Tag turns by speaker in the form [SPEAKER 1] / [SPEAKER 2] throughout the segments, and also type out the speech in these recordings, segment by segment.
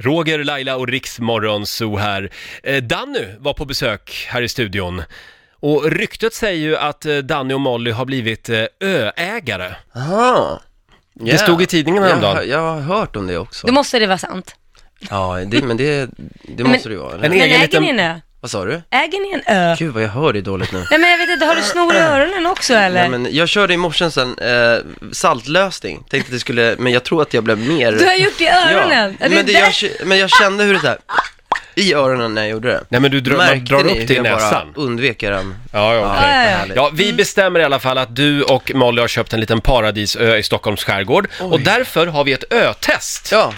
[SPEAKER 1] Roger, Laila och Riksmorgon Zoo här. Eh, Danny var på besök här i studion. Och ryktet säger ju att eh, Danny och Molly har blivit eh, öägare.
[SPEAKER 2] Aha.
[SPEAKER 1] Det stod i tidningen häromdagen.
[SPEAKER 2] Jag, jag har hört om det också.
[SPEAKER 3] Då måste det vara sant.
[SPEAKER 2] Ja, det, men det, det måste det ju vara.
[SPEAKER 1] En
[SPEAKER 3] Men
[SPEAKER 1] egen
[SPEAKER 3] äger
[SPEAKER 1] liten-
[SPEAKER 3] ni en ö?
[SPEAKER 2] Vad sa du?
[SPEAKER 3] Äger ni en ö?
[SPEAKER 2] Gud vad jag hör dig dåligt nu.
[SPEAKER 3] Nej men jag vet inte, har du snor i öronen också eller?
[SPEAKER 2] Nej, men jag körde i morse en sån, eh, saltlösning, tänkte att det skulle, men jag tror att jag blev mer...
[SPEAKER 3] Du har gjort det i öronen?
[SPEAKER 2] Ja,
[SPEAKER 3] det är
[SPEAKER 2] men, det, jag, k- men jag kände hur det där i öronen när jag gjorde det.
[SPEAKER 1] Nej men du drar, man
[SPEAKER 2] Märkte
[SPEAKER 1] drar
[SPEAKER 2] ni
[SPEAKER 1] upp det i
[SPEAKER 2] hur jag
[SPEAKER 1] näsan.
[SPEAKER 2] bara undvek den?
[SPEAKER 1] Ja, ja, okej.
[SPEAKER 3] Ja, ja, ja.
[SPEAKER 2] Härligt. Mm.
[SPEAKER 1] Ja, vi bestämmer i alla fall att du och Molly har köpt en liten paradisö i Stockholms skärgård och därför har vi ett ötest
[SPEAKER 2] Ja,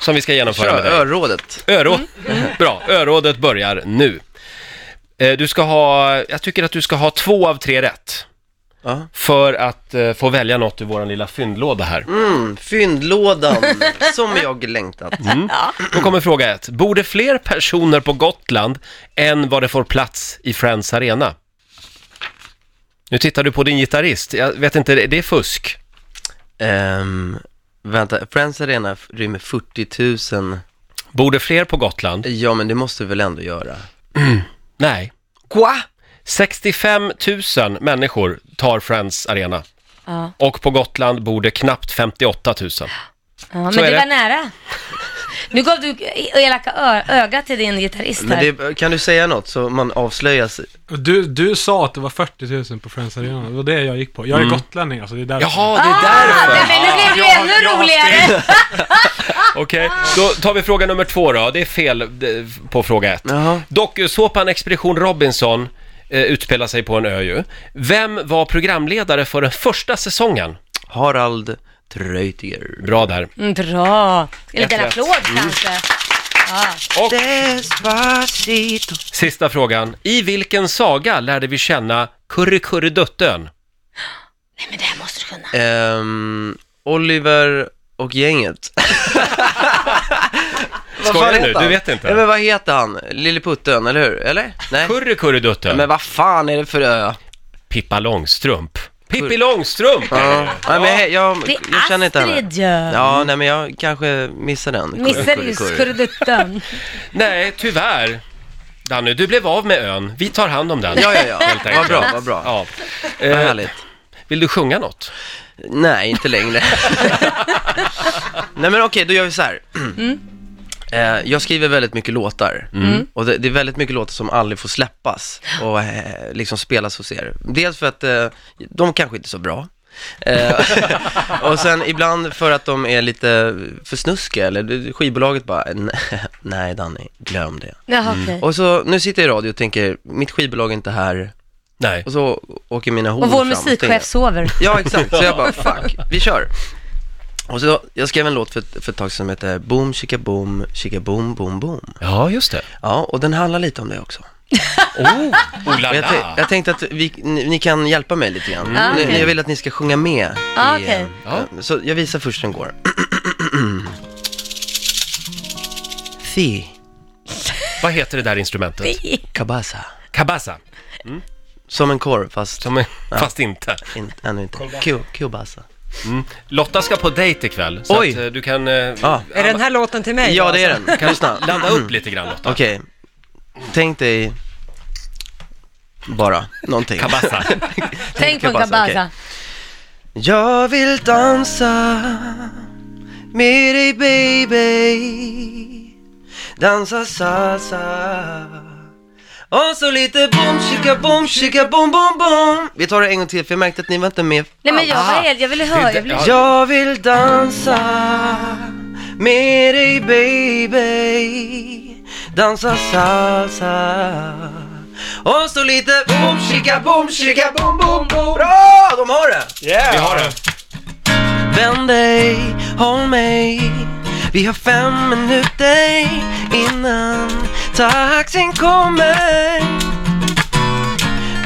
[SPEAKER 1] som vi ska genomföra med
[SPEAKER 2] kör Mm.
[SPEAKER 1] dig.
[SPEAKER 2] örådet.
[SPEAKER 1] Örå. Bra, örådet börjar nu. Eh, Du ska ha, jag tycker att du ska ha två av tre rätt
[SPEAKER 2] Ja.
[SPEAKER 1] för att eh, få välja något ur vår lilla fyndlåda här.
[SPEAKER 2] Mm, fyndlådan, som jag längtat.
[SPEAKER 1] Då kommer fråga ett. Bor det fler personer på Gotland än vad det får plats i Friends Arena? Nu tittar du på din gitarrist. Jag vet inte, det det är fusk.
[SPEAKER 2] Ehm, vänta, Friends Arena f- rymmer 40 000.
[SPEAKER 1] Bor det fler på Gotland?
[SPEAKER 2] Ja, men det måste vi väl ändå göra?
[SPEAKER 1] Nej.
[SPEAKER 2] Qua?
[SPEAKER 1] 65 000 människor tar Friends Arena.
[SPEAKER 3] Ja.
[SPEAKER 1] Och på Gotland bor det knappt 58 000.
[SPEAKER 3] Ja, men
[SPEAKER 1] Så är
[SPEAKER 3] det
[SPEAKER 1] det.
[SPEAKER 3] var nära. Nu gav du elaka ö- ögat till din gitarrist
[SPEAKER 2] Men
[SPEAKER 3] här.
[SPEAKER 2] det, kan du säga något så man avslöjas?
[SPEAKER 4] Och Du, du sa att det var 40 000 på Friends Arena, det var det jag gick på. Jag är gotlänning alltså, det är därför.
[SPEAKER 1] Jaha, det är
[SPEAKER 3] Ah, nej,
[SPEAKER 1] därför!
[SPEAKER 3] men nu blev det ju ännu roligare.
[SPEAKER 1] Ah! Okej, då tar vi fråga nummer två då. Det är fel eh, på fråga ett.
[SPEAKER 2] Jaha.
[SPEAKER 1] Dokusåpan Expedition Robinson eh, utspelar sig på en ö ju. Vem var programledare för den första säsongen?
[SPEAKER 2] Harald Treutiger.
[SPEAKER 1] Bra där.
[SPEAKER 3] Mm, Bra. En liten
[SPEAKER 1] Ett rätt.
[SPEAKER 3] applåd
[SPEAKER 2] Mm.
[SPEAKER 3] kanske. Ja.
[SPEAKER 1] Och
[SPEAKER 2] Despacito.
[SPEAKER 1] sista frågan. I vilken saga lärde vi känna Kurre Kurre Duttön?
[SPEAKER 3] Nej men det här måste du kunna.
[SPEAKER 2] Ehm, Oliver och gänget. vad
[SPEAKER 1] Skojar
[SPEAKER 2] fan
[SPEAKER 1] du?
[SPEAKER 2] heter han?
[SPEAKER 1] Du vet inte.
[SPEAKER 2] Nej, men vad heter han? Lille Putten, eller hur? Eller? Nej.
[SPEAKER 1] Kurre Kurre Duttön?
[SPEAKER 2] Men vad fan är det för ö?
[SPEAKER 1] Pippa Långstrump. Pippi Långstrump!
[SPEAKER 2] Ja. Nej, men jag, jag,
[SPEAKER 3] Det är
[SPEAKER 2] jag känner inte henne.
[SPEAKER 3] Astrid ju.
[SPEAKER 2] Ja,
[SPEAKER 1] Mm.
[SPEAKER 2] nej men jag kanske missar den. Kurre,
[SPEAKER 3] Missade
[SPEAKER 2] kurre,
[SPEAKER 3] ju
[SPEAKER 2] kurre.
[SPEAKER 3] skurdutten.
[SPEAKER 1] Nej, tyvärr. Danny, du blev av med ön. Vi tar hand om den.
[SPEAKER 2] Ja, ja, ja.
[SPEAKER 1] Helt
[SPEAKER 2] Vad
[SPEAKER 1] enkelt.
[SPEAKER 2] bra, vad bra.
[SPEAKER 1] Ja.
[SPEAKER 2] Vad
[SPEAKER 1] Eh,
[SPEAKER 2] härligt.
[SPEAKER 1] vill du sjunga något?
[SPEAKER 2] Nej, inte längre. Nej men okej, då gör vi så här.
[SPEAKER 1] Mm.
[SPEAKER 2] Eh, jag skriver väldigt mycket låtar. Och det, det är väldigt mycket låtar som aldrig får släppas och eh, liksom spelas hos er. Dels för att eh, de kanske inte är så bra. Eh, och sen ibland för att de är lite för snuskiga eller det- skivbolaget bara, nej Danny, glöm det.
[SPEAKER 3] Jaha, okej.
[SPEAKER 2] Mm. Och så, nu sitter jag i radio och tänker, mitt skivbolag är inte här.
[SPEAKER 1] Nej.
[SPEAKER 2] Och så åker mina horn
[SPEAKER 3] Och vår
[SPEAKER 2] fram, tänker jag.
[SPEAKER 3] musikchef sover.
[SPEAKER 2] Ja, exakt. Så jag bara, fuck, vi kör. Och så, jag skrev en låt för, ett- för ett tag sedan som heter Boom, chicka boom, chicka boom, boom, boom.
[SPEAKER 1] Ja, just det.
[SPEAKER 2] Ja, och den handlar lite om det också.
[SPEAKER 1] Oh, oh la
[SPEAKER 2] Och jag,
[SPEAKER 1] la.
[SPEAKER 2] tän- jag tänkte att vi, ni, ni kan hjälpa mig lite grann.
[SPEAKER 3] Ah,
[SPEAKER 2] Ni-
[SPEAKER 3] okej.
[SPEAKER 2] Jag vill att ni ska sjunga med.
[SPEAKER 3] Ah,
[SPEAKER 2] i,
[SPEAKER 3] okej.
[SPEAKER 2] eh,
[SPEAKER 1] Ja.
[SPEAKER 2] Så jag visar först hur den går. Fi,
[SPEAKER 1] Vad heter det där instrumentet?
[SPEAKER 2] kabasa.
[SPEAKER 1] Kabasa.
[SPEAKER 2] Som en korv, fast
[SPEAKER 1] Som, fast inte.
[SPEAKER 2] in, ännu inte. Ku- Kubasa.
[SPEAKER 1] Lotta ska på dejt ikväll, så
[SPEAKER 2] Oj.
[SPEAKER 1] att eh, du kan... eh,
[SPEAKER 2] Ja. Mm.
[SPEAKER 5] Är den här låten till mig?
[SPEAKER 2] Ja,
[SPEAKER 5] då,
[SPEAKER 2] det är
[SPEAKER 5] alltså?
[SPEAKER 2] den. Lyssna.
[SPEAKER 1] Blanda upp lite grann Lotta.
[SPEAKER 2] Okej, tänk dig bara någonting.
[SPEAKER 1] Kabasa.
[SPEAKER 3] Tänk på en
[SPEAKER 2] Kabasa, okej.
[SPEAKER 3] kabaza.
[SPEAKER 2] Jag vill dansa med dig baby Dansa salsa och så lite boom, chicka boom, chicka boom, boom, boom Vi tar det en gång till för jag märkte att ni var inte med Ah.
[SPEAKER 3] Nej men jag var helt, jag ville höra, jag ville
[SPEAKER 1] Ja.
[SPEAKER 2] Jag vill dansa med dig baby Dansa salsa och så lite boom, chicka boom, chicka boom, boom, boom Bra! De har det!
[SPEAKER 1] Vi har det.
[SPEAKER 2] Vänd dig, håll mig Vi har fem minuter innan taxin kommer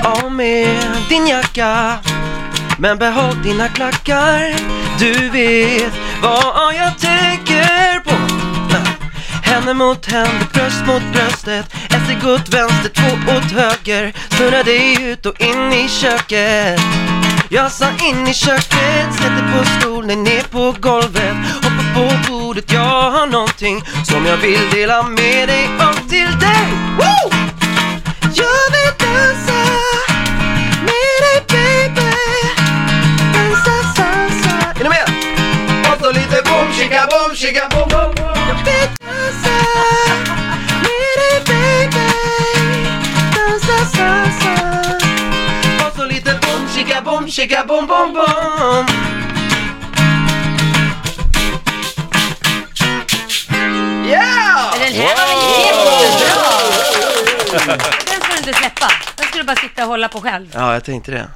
[SPEAKER 2] Av med din jacka Men behåll dina klackar Du vet vad jag tänker på Händer mot händer, bröst mot bröstet Ett steg åt vänster, två åt höger Snurra dig ut och in i köket jag sa in i köket, sätter på stolen, ner på golvet Hoppar på bordet bordet, jag har någonting som jag vill dela med dig av till dig. Woo! Jag vill dansa med dig baby. Dansa salsa. Är ni med? Och så lite bom, chicka, bom, chicka, bom, bom. Jag vill dansa med dig baby. Dansa salsa. Och så lite bom, chicka, bom, chicka, bom, bom, bom. Yeah!
[SPEAKER 3] Den här var väl jättebra! Den ska du inte släppa. Den ska du bara sitta och hålla på själv.
[SPEAKER 2] Ja, jag tänkte det.